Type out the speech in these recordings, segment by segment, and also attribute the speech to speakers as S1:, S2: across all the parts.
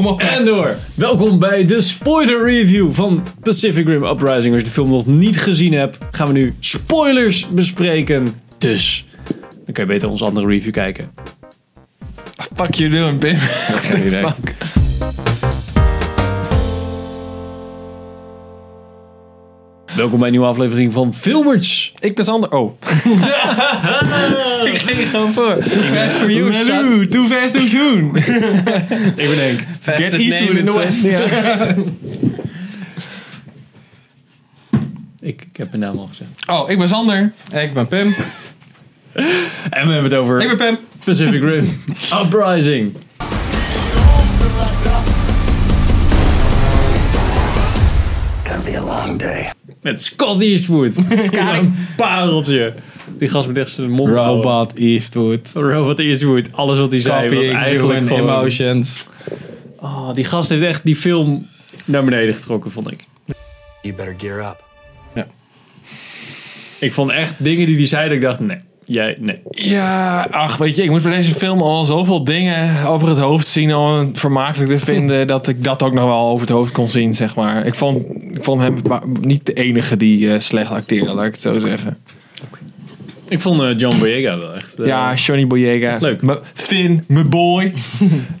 S1: Kom op.
S2: En door. Welkom bij de spoiler review van Pacific Rim Uprising. Als je de film nog niet gezien hebt, gaan we nu spoilers bespreken. Dus, dan kan je beter onze andere review kijken.
S1: Fuck you doing, Pim.
S2: Geen idee. Welkom bij een nieuwe aflevering van Filmers.
S1: Ik ben Sander. Oh. Ik ging gewoon voor. Fast for you. Hallo, too fast, too soon.
S2: Ik ben Henk.
S1: Get east with it, West.
S2: Ik, ik heb mijn naam al gezegd.
S1: Oh, ik ben Sander. Ik ben Pim.
S2: En we hebben het over
S1: Ik ben Pim.
S2: Pacific Rim Uprising.
S3: Gonna be a long day.
S2: Met Scott Eastwood. Een pareltje. Die gast met echt zijn mond houden.
S4: Robot Eastwood.
S2: Robert Eastwood. Alles wat hij zei was
S4: Copying
S2: eigenlijk
S4: human
S2: gewoon...
S4: emotions.
S2: Oh, die gast heeft echt die film naar beneden getrokken, vond ik.
S3: You better gear up.
S2: Ik vond echt dingen die hij zei dat ik dacht, nee. Jij, nee.
S4: Ja, ach, weet je, ik moest bij deze film al zoveel dingen over het hoofd zien om het vermakelijk te vinden, dat ik dat ook nog wel over het hoofd kon zien, zeg maar. Ik vond, ik vond hem ba- niet de enige die eh, slecht acteerde, laat ik het zo zeggen.
S2: Ik vond eh, John Boyega wel echt... eh,
S4: Ja, Johnny Boyega.
S2: Leuk.
S4: Me, Finn, mijn boy.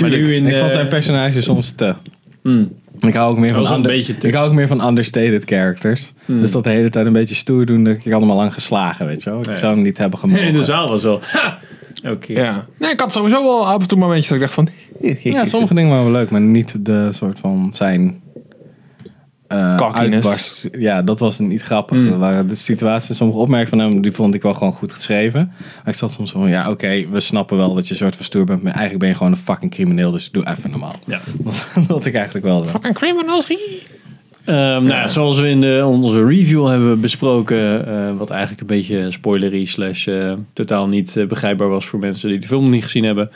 S2: maar nu in...
S4: Ik
S2: eh,
S4: vond zijn
S5: personage soms te.
S2: mm,
S5: Ik hou ook meer
S2: was
S5: van,
S2: een
S5: ander-
S2: beetje te. Hmm.
S5: ik hou ook meer van understated characters. Dus dat de hele tijd een beetje stoer doen. dat Ik had hem al lang geslagen, weet je wel. Ik
S2: Nee.
S5: zou hem niet hebben gemogen.
S2: in de zaal was wel... Ha! Oké.
S4: Ja. Nee, ik had sowieso wel af en toe momentjes dat ik dacht van...
S2: dus-
S5: Ja, sommige dingen waren wel leuk, maar niet de soort van zijn... eh,
S4: Cockiness.
S5: uitbarst. Ja, dat was niet grappig.
S2: Hmm.
S5: Dat waren de situaties, sommige opmerkingen van hem, die vond ik wel gewoon goed geschreven. Maar ik zat soms van, ja oké, we snappen wel dat je een soort van stoer bent, maar eigenlijk ben je gewoon een fucking crimineel, dus doe even normaal.
S2: Ja.
S5: Dat had ik eigenlijk wel. zo.
S4: Fucking criminals.
S2: Ehm, nou ja, zoals we in de, onze review hebben besproken, eh, wat eigenlijk een beetje spoilery slash eh, totaal niet eh, begrijpbaar was voor mensen die de film nog niet gezien hebben,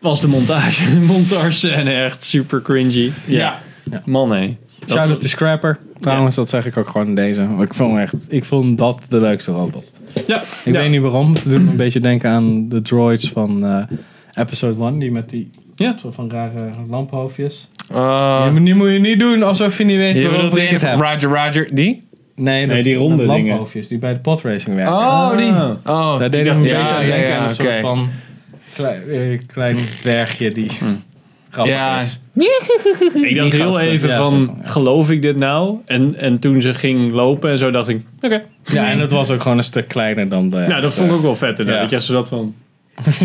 S2: was de montage. De montagescène echt super cringy.
S4: Ja.
S2: Man hé. Dat-
S5: Shout-out to Scrapper. Trouwens, dat zeg ik ook gewoon in deze. Want Ik vond, echt, ik vond dat de leukste robot.
S2: Ja,
S5: Ik
S2: ja.
S5: weet niet waarom. Het doet me een beetje denken aan de droids van eh, episode 1. Die met die
S2: Ja.
S5: soort van rare lamphoofdjes.
S4: Eh
S5: Ja, maar nu moet je niet doen alsof je niet weet
S4: je bedoelt
S5: waarover
S4: die
S5: ik het heb.
S4: Roger Roger, die?
S5: Nee, dat
S2: Nee, die
S5: is
S2: ronde
S5: de
S2: dingen.
S5: lamphoofdjes die bij de podracing werken.
S4: Oh, die.
S2: Ah.
S4: Oh,
S5: Daar deed
S4: ik
S5: ik een beetje
S4: ja,
S5: aan
S4: ja,
S5: denken
S4: ja,
S5: aan een soort
S4: oké.
S5: van klein, eh, klein dwergje die grappig
S4: Ja.
S5: is.
S2: Ik dacht
S5: die
S2: heel
S5: gasten.
S2: even
S5: Ja,
S2: van,
S5: soort van, ja.
S2: geloof ik dit nou? En, en toen ze ging lopen en zo dacht ik, oké.
S5: Ja, en dat was ook gewoon een stuk kleiner dan de...
S2: Nou, dat vond ik ook wel vet inderdaad.
S5: Ja.
S2: Dat je echt zo dat van,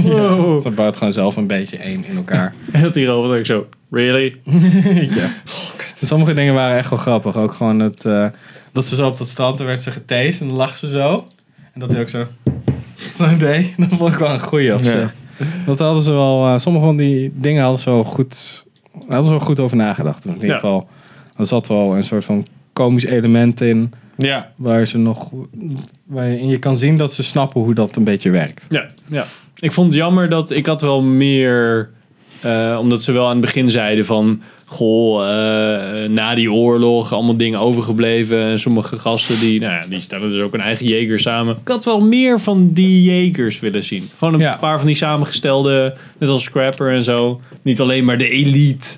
S2: wow.
S5: Ze bouwt gewoon zelf een beetje één in elkaar.
S2: En dat hierover dacht ik zo, really?
S5: Oh, Sommige dingen waren echt wel grappig. Ook gewoon het, eh, dat ze zo op dat strand, toen werd ze geteest en dan lag ze zo. En dat hij ook zo... Zo deed. Dat vond ik wel een goeie op
S4: Ja.
S5: zich. Dat hadden ze wel... eh, sommige van die dingen hadden ze wel goed, hadden ze wel goed over nagedacht. In ieder
S2: Ja.
S5: geval, er zat wel een soort van komisch element in...
S4: Ja.
S5: waar ze nog... Waar je, en je kan zien dat ze snappen hoe dat een beetje werkt.
S2: Ja, ja. Ik vond het jammer dat ik had wel meer. eh, omdat ze wel aan het begin zeiden van. Goh, eh, na die oorlog allemaal dingen overgebleven. En sommige gasten die, nou ja, die stellen dus ook een eigen jeger samen. Ik had wel meer van die jegers willen zien. Gewoon een
S5: Ja.
S2: paar van die samengestelde, net als Scrapper en zo. Niet alleen maar de elite.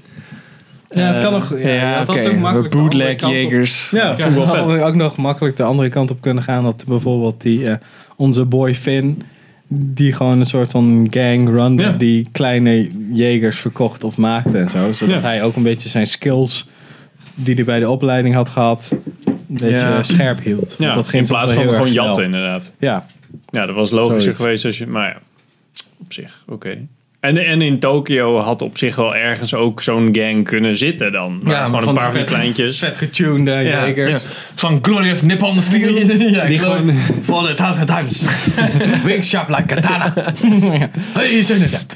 S5: Ja, het kan ook... Ja,
S4: Eh, Ja,
S5: het
S4: oké.
S5: had ook makkelijk de andere
S4: Bootleg
S5: kant op
S4: Jagers.
S2: Ja, vond ik wel
S5: Ja,
S2: vet.
S5: hadden we ook nog makkelijk de andere kant op kunnen gaan. Dat bijvoorbeeld die, eh, onze boy Finn, die gewoon een soort van gang run,
S2: Ja.
S5: die kleine jegers verkocht of maakte en zo. Zodat
S2: Ja.
S5: hij ook een beetje zijn skills die hij bij de opleiding had gehad, een beetje
S4: Ja.
S5: eh, scherp hield.
S2: Ja,
S5: Want dat ging
S2: in plaats
S5: toch
S2: van
S5: wel
S2: gewoon
S5: heel erg snel.
S2: jatten inderdaad.
S5: Ja,
S2: Ja, dat was logischer
S5: Zoiets.
S2: geweest als je. Maar ja, op zich, oké. En, en in Tokio had op zich wel ergens ook zo'n gang kunnen zitten dan. Maar
S4: Ja, maar
S2: gewoon een
S4: van
S2: paar
S4: die
S2: van die kleintjes.
S5: vet getuned eh,
S2: Ja.
S4: Ja.
S5: jegers.
S4: Van Glorious Nippon Steel. ja,
S2: Die gewoon-
S4: For the thousand times. Big sharp like katana. Hey, is inderdaad.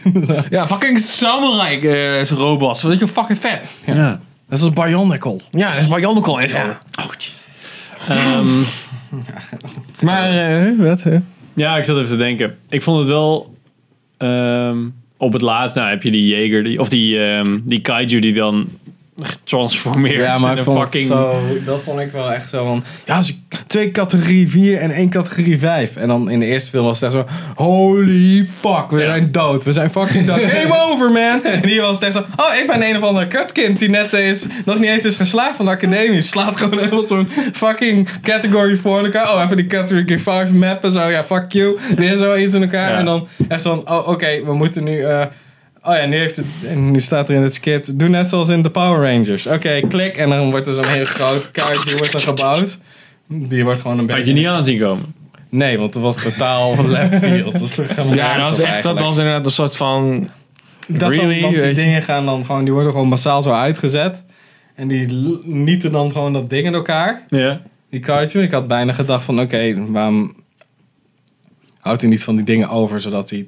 S4: Ja, fucking samurai eh, is robots. Weet je, fucking vet.
S2: Ja.
S5: Dat is Bionicle.
S4: Ja, dat is bij Jannekol en zo.
S5: Oh,
S2: Ehm,
S4: Maar, eh, wat? hè?
S2: ja, ik zat even te denken. Ik vond het wel. ehm, op het laatst, nou heb je die Jager, die, of die, ehm, die Kaiju die dan getransformeerd
S5: Ja,
S2: in
S5: maar
S2: een
S5: ik vond het
S2: fucking.
S5: zo, dat vond ik wel echt zo van... Ja, ze twee categorie 4 en één categorie 5. En dan in de eerste film was het echt zo, holy fuck, we zijn dood. We zijn fucking dood. Game over, man. En hier was het echt zo, oh, ik ben een of ander kutkind die net is, nog niet eens is geslaagd van de academie. Slaat gewoon helemaal zo'n fucking category 4 in elkaar. Oh, even die category 5 mappen, zo, ja, fuck you. Weer zoiets in elkaar.
S2: Ja.
S5: En dan echt zo'n, oh, oké, we moeten nu... eh, Oh ja, nu, heeft het, en nu staat er in het script. Doe net zoals in de Power Rangers. Oké, klik. En dan wordt er zo'n heel groot kaartje wordt er gebouwd. Die wordt gewoon een beetje.
S2: Had je niet aan zien komen.
S5: Nee, want het was totaal left field. Dus er
S4: Ja,
S5: helemaal
S4: dat
S5: nergens
S4: was
S5: op
S4: echt, dat
S5: eigenlijk.
S4: was inderdaad een soort van...
S5: Dat dan-
S4: really,
S5: want die
S4: weet je.
S5: dingen gaan dan gewoon, die worden gewoon massaal zo uitgezet. En die l- nieten dan gewoon dat ding in elkaar.
S2: Ja.
S5: Die kaartje. Ik had bijna gedacht van, oké, waarom houdt hij niet van die dingen over, zodat hij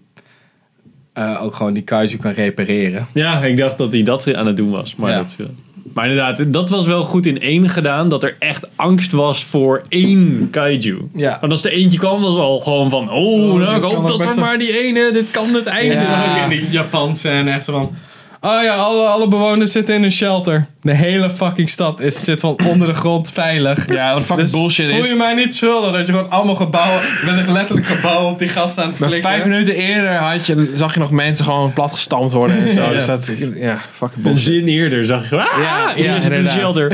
S5: eh, ook gewoon die kaartje kan repareren.
S2: Ja, ik dacht dat hij dat aan het doen was. Maar,
S5: Ja.
S2: dat, eh, maar inderdaad, dat was wel goed in één gedaan. Dat er echt angst was voor één kaiju.
S5: Ja.
S2: Want als er eentje kwam, was het al gewoon van... Oh, nou, ik
S5: kan
S2: hoop
S5: nog
S2: dat
S5: best
S2: er
S5: wel-
S2: maar die ene... Dit kan het einde
S5: Ja.
S2: worden.
S5: in die Japanse en echt zo van... Oh ja, alle, alle bewoners zitten in een shelter. De hele fucking stad is, zit van onder de grond veilig. Dus
S4: Ja, wat fucking bullshit
S5: Voel je
S4: is.
S5: mij niet schuldig dat je gewoon allemaal gebouwen... Je bent echt letterlijk gebouwen op die gast aan het
S4: Maar vijf
S5: flikken.
S4: minuten eerder had je, zag je nog mensen gewoon plat gestampt worden en zo.
S5: Ja,
S4: dus dat,
S5: precies.
S4: ja, fucking
S2: Een
S4: bullshit.
S2: zin eerder zag ik... Ah,
S4: Ja,
S2: ja,
S4: ja,
S2: is het een
S4: inderdaad.
S2: shelter.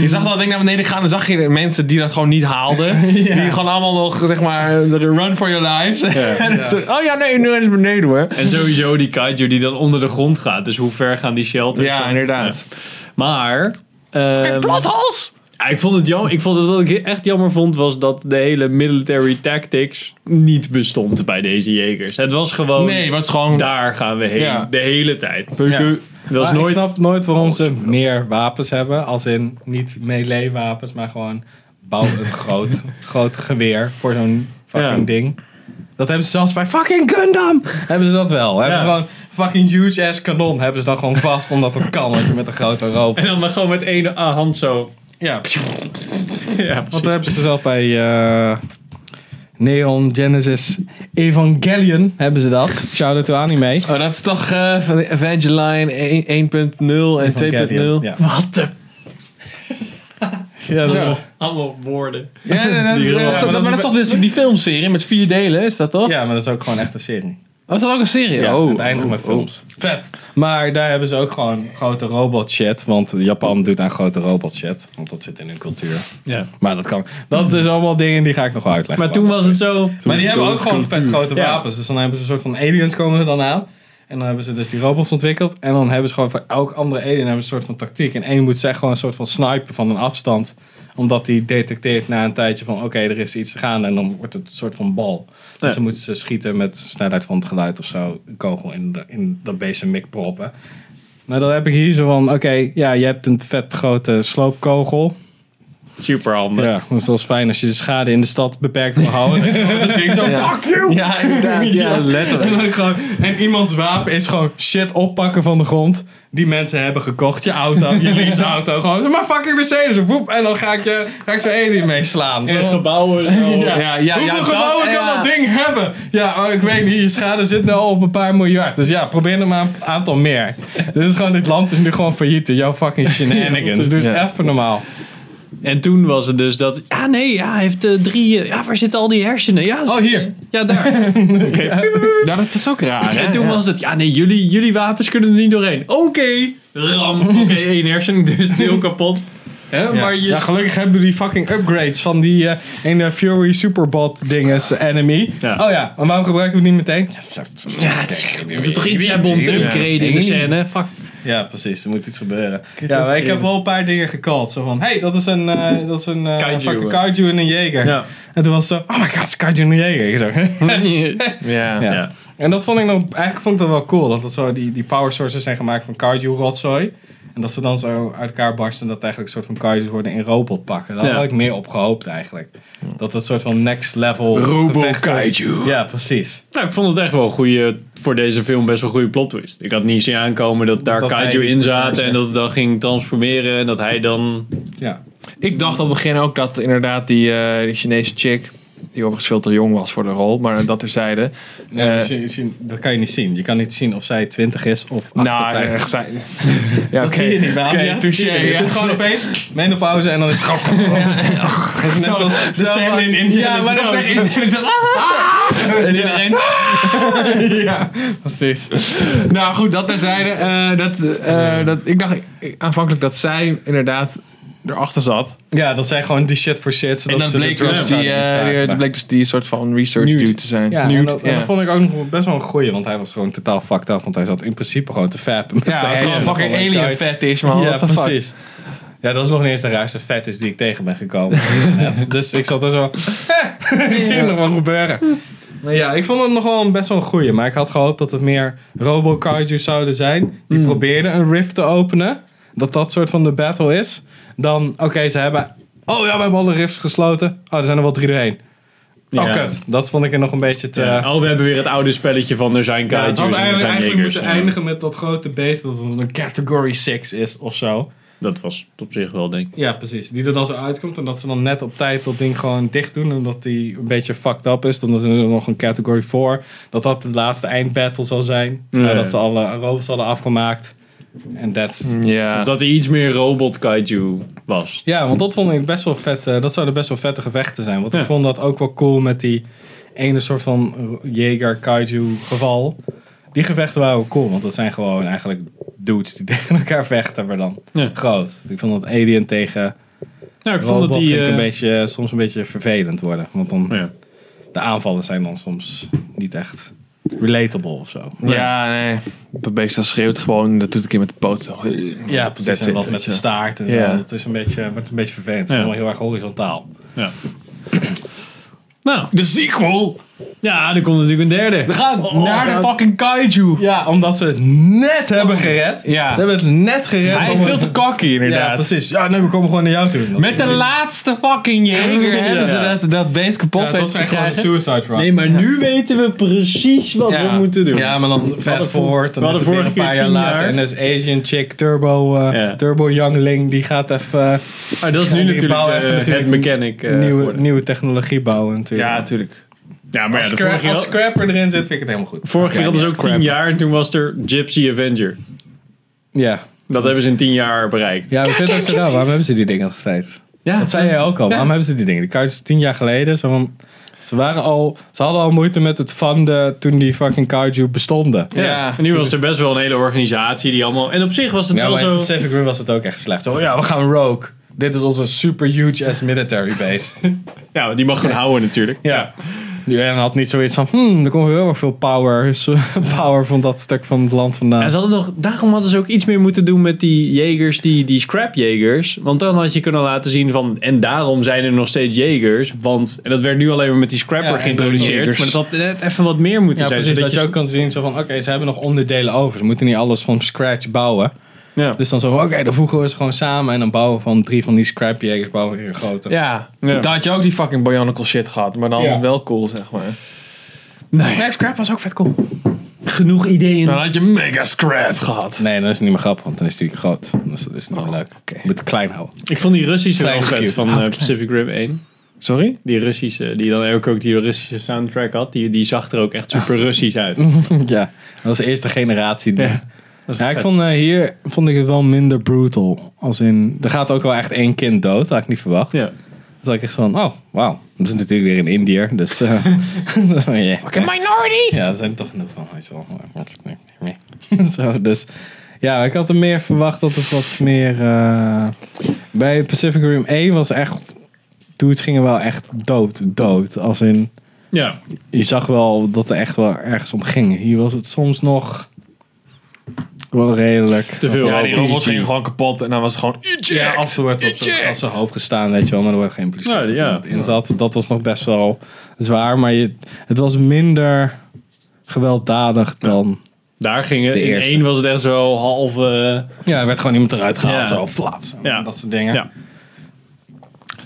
S4: Je zag dat ding naar beneden gaan en zag je de mensen die dat gewoon niet haalden. Die gewoon allemaal nog, zeg maar, de run for your lives. en dan zo, oh ja, nee, nu is het beneden hoor.
S2: En sowieso die kaiju die dan onder de grond gaat. Dus hoe ver gaan die shelters?
S4: Ja,
S2: dan?
S4: inderdaad.
S2: Ja. Maar... ehm,
S4: Plathals!
S2: Ja, ik vond het jammer. Ik vond het, wat ik echt jammer vond, was dat de hele military tactics niet bestond bij deze jegers. Het was gewoon,
S4: Nee, was gewoon...
S2: daar gaan we heen.
S4: Ja.
S2: De hele tijd.
S5: Ja.
S2: Het was
S5: Maar
S2: nooit...
S5: Ik snap nooit waarom ze meer wapens hebben. Als in niet melee wapens, maar gewoon bouw een groot, groot geweer voor zo'n fucking
S2: Ja.
S5: ding. Dat hebben ze zelfs bij fucking Gundam. Hebben ze dat wel. Hebben
S2: Ja.
S5: ze gewoon fucking huge ass kanon. Hebben ze dan gewoon vast omdat het kan. Als je met een grote roop
S2: En dan maar gewoon met één ah, hand zo.
S5: Ja,
S2: Ja,
S5: wat hebben ze zelf bij eh, Neon Genesis Evangelion hebben ze dat. Shout-out to anime.
S4: Oh, dat is toch eh, van Evangeline e- 1.0 en 2.0?
S5: Ja,
S2: Wat de...
S5: ja, dat
S4: Zo.
S2: Allemaal woorden.
S4: Ja, nee, dat,
S5: Die
S4: is-
S5: rol.
S4: dat is-
S5: Ja,
S4: maar
S5: maar dat
S4: dat
S5: is
S4: is toch dus die filmserie met vier delen, is dat toch?
S5: ja, maar dat is ook gewoon echt een serie.
S4: Oh, is dat ook een serie?
S5: Ja,
S4: oh,
S5: het eindigt met films. Vet. Maar daar hebben ze ook gewoon grote robot shit. Want Japan doet aan grote robot shit. Want dat zit in hun cultuur.
S2: Ja.
S5: Maar dat kan. Dat is allemaal dingen die ga ik nog wel uitleggen.
S2: Maar toen was het zo...
S5: Maar die hebben ook gewoon vet grote
S2: Ja.
S5: wapens. Dus dan hebben ze een soort van aliens komen er dan aan. En dan hebben ze dus die robots ontwikkeld. En dan hebben ze gewoon voor elk andere alien hebben ze een soort van tactiek. En één moet ze echt gewoon een soort van snipen van een afstand. Omdat die detecteert na een tijdje van oké, er is iets gaande. En dan wordt het een soort van bal. Dus
S2: Ja.
S5: dan moeten ze schieten met snelheid van het geluid of zo. Een kogel in, de, in dat beest een mik proppen. Nou, dan heb ik hier zo van, oké, ja, je hebt een vet grote sloopkogel.
S2: Super handig.
S5: Ja, dus dat is fijn als je de schade in de stad beperkt wil houden. Dan gewoon dat ding zo, fuck you!
S4: Ja, inderdaad. Ja,
S5: En,
S4: letterlijk.
S5: dan gewoon, en iemands wapen is gewoon shit oppakken van de grond. Die mensen hebben gekocht. Je auto, je leaseauto. Gewoon, zo, maar fucking Mercedes. Woep, en dan ga ik, je, ga ik zo alien meeslaan.
S2: En
S5: Zo.
S2: gebouwen zo.
S5: Ja.
S4: Ja, ja,
S5: Hoeveel
S4: ja,
S5: gebouwen
S4: dat-
S5: kan
S4: ja.
S5: dat ding hebben? Ja, oh, ik weet niet. Je schade zit nu al op een paar miljard. Dus ja, probeer er maar een aantal meer. Dit is gewoon, dit land is nu gewoon failliet. door Jouw fucking shenanigans. Doe
S4: Ja.
S5: het even normaal.
S2: En toen was het dus dat... Ja, nee, ja, hij heeft eh, drie... eh, Ja, waar zitten al die hersenen? Ja,
S5: Oh, hier.
S2: ja daar.
S4: Ja, dat is ook raar. hè?
S2: En toen was het, ja nee, jullie, jullie wapens kunnen er niet doorheen. Oké, ram. Oké, één hersen, dus deel kapot. Hè, Maar je...
S5: Ja, gelukkig hebben die fucking upgrades van die eh, ene Fury Superbot dinges enemy.
S2: Ja.
S5: Oh ja, maar waarom gebruiken we die meteen?
S2: Ja, het is, het is toch iets hebben om te upgraden in de scène. Fuck.
S5: Ja, precies. Er moet iets gebeuren. Ja, maar ik heb wel een paar dingen gecallt. Zo van, hey, dat is een, eh, dat is een eh,
S2: Kaiju.
S5: fucking kaiju en een jager.
S2: Ja.
S5: En toen was het zo, oh my god, het is kaiju en een jager. Ik Zo.
S4: Ja.
S5: Ja.
S2: Ja.
S5: En dat vond ik nog, eigenlijk vond ik dat wel cool. Dat, dat zo die, die power sources zijn gemaakt van kaiju rotzooi. En dat ze dan zo uit elkaar barsten dat eigenlijk een soort van kaiju worden in robot pakken. Daar
S2: Ja.
S5: had ik meer op gehoopt eigenlijk. Dat dat soort van next level
S4: Robo
S5: gevechten-
S4: kaiju.
S5: Ja, precies.
S2: Nou, ik vond het echt wel een goede, voor deze film best wel een goede plot twist. Ik had niet zien aankomen dat daar
S5: Dat hij
S2: kaiju
S5: die
S2: in zaten en
S5: pervers
S2: dat het dan ging transformeren en dat hij dan...
S5: Ja.
S4: Ik dacht op het begin ook dat inderdaad die, eh, die Chinese chick... die overigens veel te jong was voor de rol, maar dat terzijde.
S5: Nee,
S4: Eh,
S5: dus je- je ziet- dat kan je niet zien. Je kan niet zien of zij 20 is of
S4: nou,
S5: 58.
S4: echt zij. Ja,
S5: dat zie je niet bij
S4: Oké,
S5: Asia.
S4: touché,
S5: Zie je niet.
S4: ja.
S5: Het is gewoon opeens menopauze en dan is het gewoon... Dat is net zoals de scène in Indiana
S1: Ja, maar dat
S5: Jones.
S1: zegt iedereen. zegt, "Ah."
S5: En iedereen...
S4: Ah!
S5: Ja, precies.
S4: Nou goed, dat terzijde. eh, dat, eh, dat, ik dacht aanvankelijk dat zij inderdaad erachter zat.
S5: Ja, dat zijn gewoon die shit voor shit. Zodat
S4: en dat
S5: ze
S4: bleek
S5: de drugs
S4: dus, die,
S5: zouden
S4: eh, die,
S5: inschakelen.
S4: dat bleek dus die soort van research
S5: Newt.
S4: dude te zijn.
S5: Ja, en
S4: Newt,
S5: dat, en dat vond ik ook nog best wel een goeie, want hij was gewoon totaal fucked up, want hij zat in principe gewoon te fappen. met
S4: Ja, hij is
S5: aliens
S4: gewoon een fucking
S5: van
S4: alien
S5: elkaar.
S4: fetish, man.
S5: Ja,
S4: What the fuck?
S5: precies. Ja, dat is nog niet eens de raarste fetish die ik tegen ben gekomen. Net. dus ik zat er zo... Ik zie het nog wel gebeuren. Maar ja, ik vond het nog wel een- best wel een goeie. Maar ik had gehoopt dat het meer robo-kaijus zouden zijn.
S4: Hmm.
S5: Die probeerden een rift te openen. Dat dat soort van de battle is. Dan, oké, ze hebben... Oh ja, we hebben alle rifts gesloten. Oh, er zijn er wel drie doorheen.
S2: Ja.
S5: Oh, kut. Dat vond ik er nog een beetje te...
S2: Ja. Oh, we hebben weer het oude spelletje van er zijn
S5: Ja,
S2: kaiju's
S5: het had
S2: en er
S5: eigenlijk,
S2: zijn
S5: eigenlijk
S2: niggers.
S5: moeten
S2: Ja.
S5: eindigen met dat grote beest dat het een category 6 is of zo.
S2: Dat was op zich wel, denk ik.
S5: Ja, precies. Die er dan zo uitkomt en dat ze dan net op tijd dat ding gewoon dicht doen. Omdat die een beetje fucked up is. Dan is er nog een category 4. Dat dat de laatste eindbattle zal zijn.
S2: Ja.
S5: Eh, dat ze alle robots hadden afgemaakt. En that's...
S2: Of
S4: Ja.
S2: dat hij iets meer robot kaiju was.
S5: Ja, want dat vond ik best wel vet. eh, dat zouden best wel vette gevechten zijn. Want
S2: Ja.
S5: ik vond dat ook wel cool met die ene soort van Jaeger Kaiju geval. Die gevechten waren wel cool, want dat zijn gewoon eigenlijk dudes die tegen elkaar vechten, maar dan
S2: Ja.
S5: groot. Ik vond dat Alien tegen
S2: Nou, ik vond
S5: robot
S2: dat die...
S5: vind ik een
S2: eh,
S5: beetje, eh, soms een beetje vervelend worden. Want dan,
S2: ja.
S5: de aanvallen zijn dan soms niet echt relatable of zo.
S4: Ja, nee. Dat beest dat schreeuwt gewoon. Dat doet een keer met de poot. zo.
S5: Ja, precies.
S4: That's
S5: En dat
S4: it,
S5: met de
S4: weet je.
S5: staart. En
S4: Ja.
S5: zo. Dat is een beetje, wordt een beetje vervelend. Het is
S2: Ja.
S5: allemaal heel erg horizontaal.
S2: ja. Nou,
S4: De sequel!
S2: ja, er komt natuurlijk een derde. Oh. We gaan
S5: Oh,
S4: naar de fucking kaiju!
S5: Ja, omdat ze het net hebben gered.
S4: Ja.
S5: Ze hebben het net gered.
S4: Hij is
S5: Om-
S4: veel te cocky, inderdaad.
S5: Ja, precies. Ja, nee, we komen gewoon naar jou toe.
S4: Met de laatste fucking
S2: Ja.
S4: jager hebben ze dat, dat beest kapot
S5: ja,
S4: weten
S5: dat
S4: te
S5: zijn gewoon de
S4: krijgen.
S5: suicide run.
S2: Nee, maar nu weten we precies wat
S4: Ja.
S2: we moeten doen.
S5: Ja, maar dan fast forward. Dan
S2: we
S5: is het
S2: hadden
S5: weer
S2: vorige
S5: een paar
S2: keer
S5: jaar
S2: tien
S5: later.
S2: jaar.
S5: En dus Asian chick, turbo, eh,
S2: Ja.
S5: turbo youngling, die gaat even eh,
S2: Maar dat is
S5: Ja,
S2: nu
S5: die
S2: natuurlijk
S5: bouwen
S2: de,
S5: even natuurlijk
S2: het
S5: een
S2: mechanic eh,
S5: nieuwe,
S2: geworden.
S5: nieuwe technologie bouwen natuurlijk.
S4: Ja, natuurlijk.
S2: Ja, maar ja,
S5: als,
S2: de
S5: scra-
S2: vorige keer,
S5: als scrapper erin zit, vind ik het helemaal goed.
S2: vorige keer hadden ze ook
S5: Scrapper.
S2: 10 jaar en toen was er Gypsy Avenger.
S5: Ja.
S2: Dat hebben ze in 10 jaar bereikt.
S5: Ja, we zitten ook zo nou, Waarom hebben ze die dingen nog steeds?
S4: Ja,
S5: dat zei jij ook al. Waarom hebben ze die dingen? Die couch is tien jaar geleden. Zo van- ze, waren al, ze hadden al moeite met het funden toen die fucking kaiju bestonden.
S2: Ja.
S4: Ja.
S2: En nu was er best wel een hele organisatie die allemaal... En op zich was het
S5: Ja,
S2: wel
S5: maar in
S2: zo...
S5: Pacific Rim was het ook echt slecht. Zo, ja, we gaan rogue. Dit is onze super huge ass military base.
S2: Ja, die mag gewoon houden natuurlijk.
S5: ja. UN had niet zoiets van, hmm, er komt heel erg veel power, power van dat stuk van het land vandaan.
S2: En ze hadden nog, daarom hadden ze ook iets meer moeten doen met die jegers, die, die scrapjegers. Want dan had je kunnen laten zien van. En daarom zijn er nog steeds jegers. Want. En dat werd nu alleen maar met die scrapper
S5: Ja, en
S2: geïntroduceerd.
S5: jagers.
S2: Maar dat had net even wat meer moeten
S5: ja,
S2: zijn.
S5: precies. Dat
S2: zodat
S5: je ook kan zien zo van, oké, ze hebben nog onderdelen over. Ze moeten niet alles van scratch bouwen.
S2: Ja.
S5: Dus dan zo van, oké, dan voegen we ze gewoon samen en dan bouwen we van drie van die scrapjagers bouwen we weer een grote.
S4: Ja.
S2: Ja.
S4: daar had je ook die fucking Bionicle shit gehad, maar dan
S5: Ja.
S4: wel cool, zeg maar.
S5: Nee, scrap was ook vet cool.
S2: genoeg ideeën.
S4: Dan had je mega scrap gehad.
S5: Nee, dan is het niet meer grappig, want dan is het natuurlijk groot. Dus dat is niet meer leuk. Je moet het klein houden.
S2: Ik vond die Russische wel
S5: Klein
S2: vet
S5: cute.
S2: van eh, Pacific Rim 1.
S4: Sorry?
S2: Die Russische, die dan ook, ook die Russische soundtrack had. Die, die zag er ook echt super Russisch uit.
S5: ja, dat was de eerste generatie. Die... Ja. ik
S2: vet.
S5: vond eh, hier vond ik het wel minder brutal. Als in, er gaat ook wel echt één kind dood, had ik niet verwacht.
S2: Ja.
S5: Dus had ik echt van, oh, wauw. Dat is natuurlijk weer in Indiër, dus... eh, ja.
S4: Minority!
S5: Ja, er zijn er toch genoeg van, weet je wel. Zo, dus... Ja, ik had er meer verwacht dat het wat meer... eh, Bij Pacific Rim 1 was echt... Dudes gingen wel echt dood, dood. Als in...
S2: ja.
S5: je zag wel dat er echt wel ergens om ging. Hier was het soms nog wel redelijk.
S2: Te veel.
S4: Ja, die robots
S2: robots.
S4: gingen gewoon kapot en dan was het gewoon...
S5: Ja, af en toe werd op
S4: Eject!
S5: zijn hoofd gestaan, weet je wel, maar er werd geen plezier
S2: Ja,
S5: dat
S2: ja.
S5: iemand in zat. Dat was nog best wel zwaar, maar je, het was minder gewelddadig dan...
S2: Daar gingen.
S5: De
S2: In
S5: eerste.
S2: één was het echt zo halve.
S5: Ja, er werd gewoon iemand eruit gehaald,
S2: Ja.
S5: zo flats.
S2: Ja.
S5: Dat soort dingen.
S2: Ja.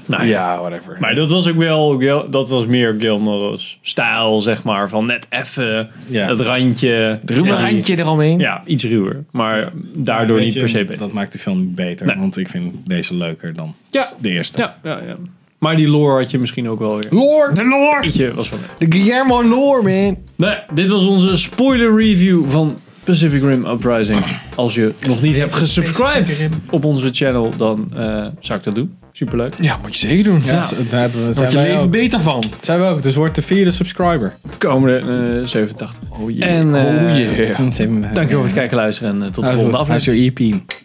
S2: Nou
S4: Ja, whatever.
S2: Maar dat was ook wel, Gil- dat was meer Gilmore's stijl, zeg maar. Van net even
S5: Ja.
S2: het randje.
S4: Het ruwe
S2: en die-
S4: randje eromheen.
S2: Ja, iets ruwer. Maar daardoor
S5: Weet
S2: niet
S5: je,
S2: per se beter.
S5: Dat maakt de film beter,
S2: Nee.
S5: want ik vind deze leuker dan
S2: Ja.
S5: de eerste.
S2: Ja, ja, ja. Maar die lore had je misschien ook wel weer.
S5: Lore! De lore!
S2: Ietje was wel leuk.
S5: De Guillermo lore, man.
S2: Nou, ja, dit was onze spoiler review van Pacific Rim Uprising. Als je nog niet hebt gesubscribed op onze channel, dan eh, zou ik dat doen. Superleuk.
S4: Ja, moet je zeker doen.
S5: Ja, dat- daar hebben we, zijn,
S4: Wordt je
S5: wij
S4: leven
S5: ook.
S4: beter van.
S5: zijn we ook. Dus wordt de vierde subscriber.
S2: Komende eh, 87.
S4: Oh
S2: En, eh,
S4: oh jee.
S5: Dankjewel 네,
S2: Dankjewel voor het kijken, luisteren en eh, tot de volgende aflevering.
S5: How's your EP?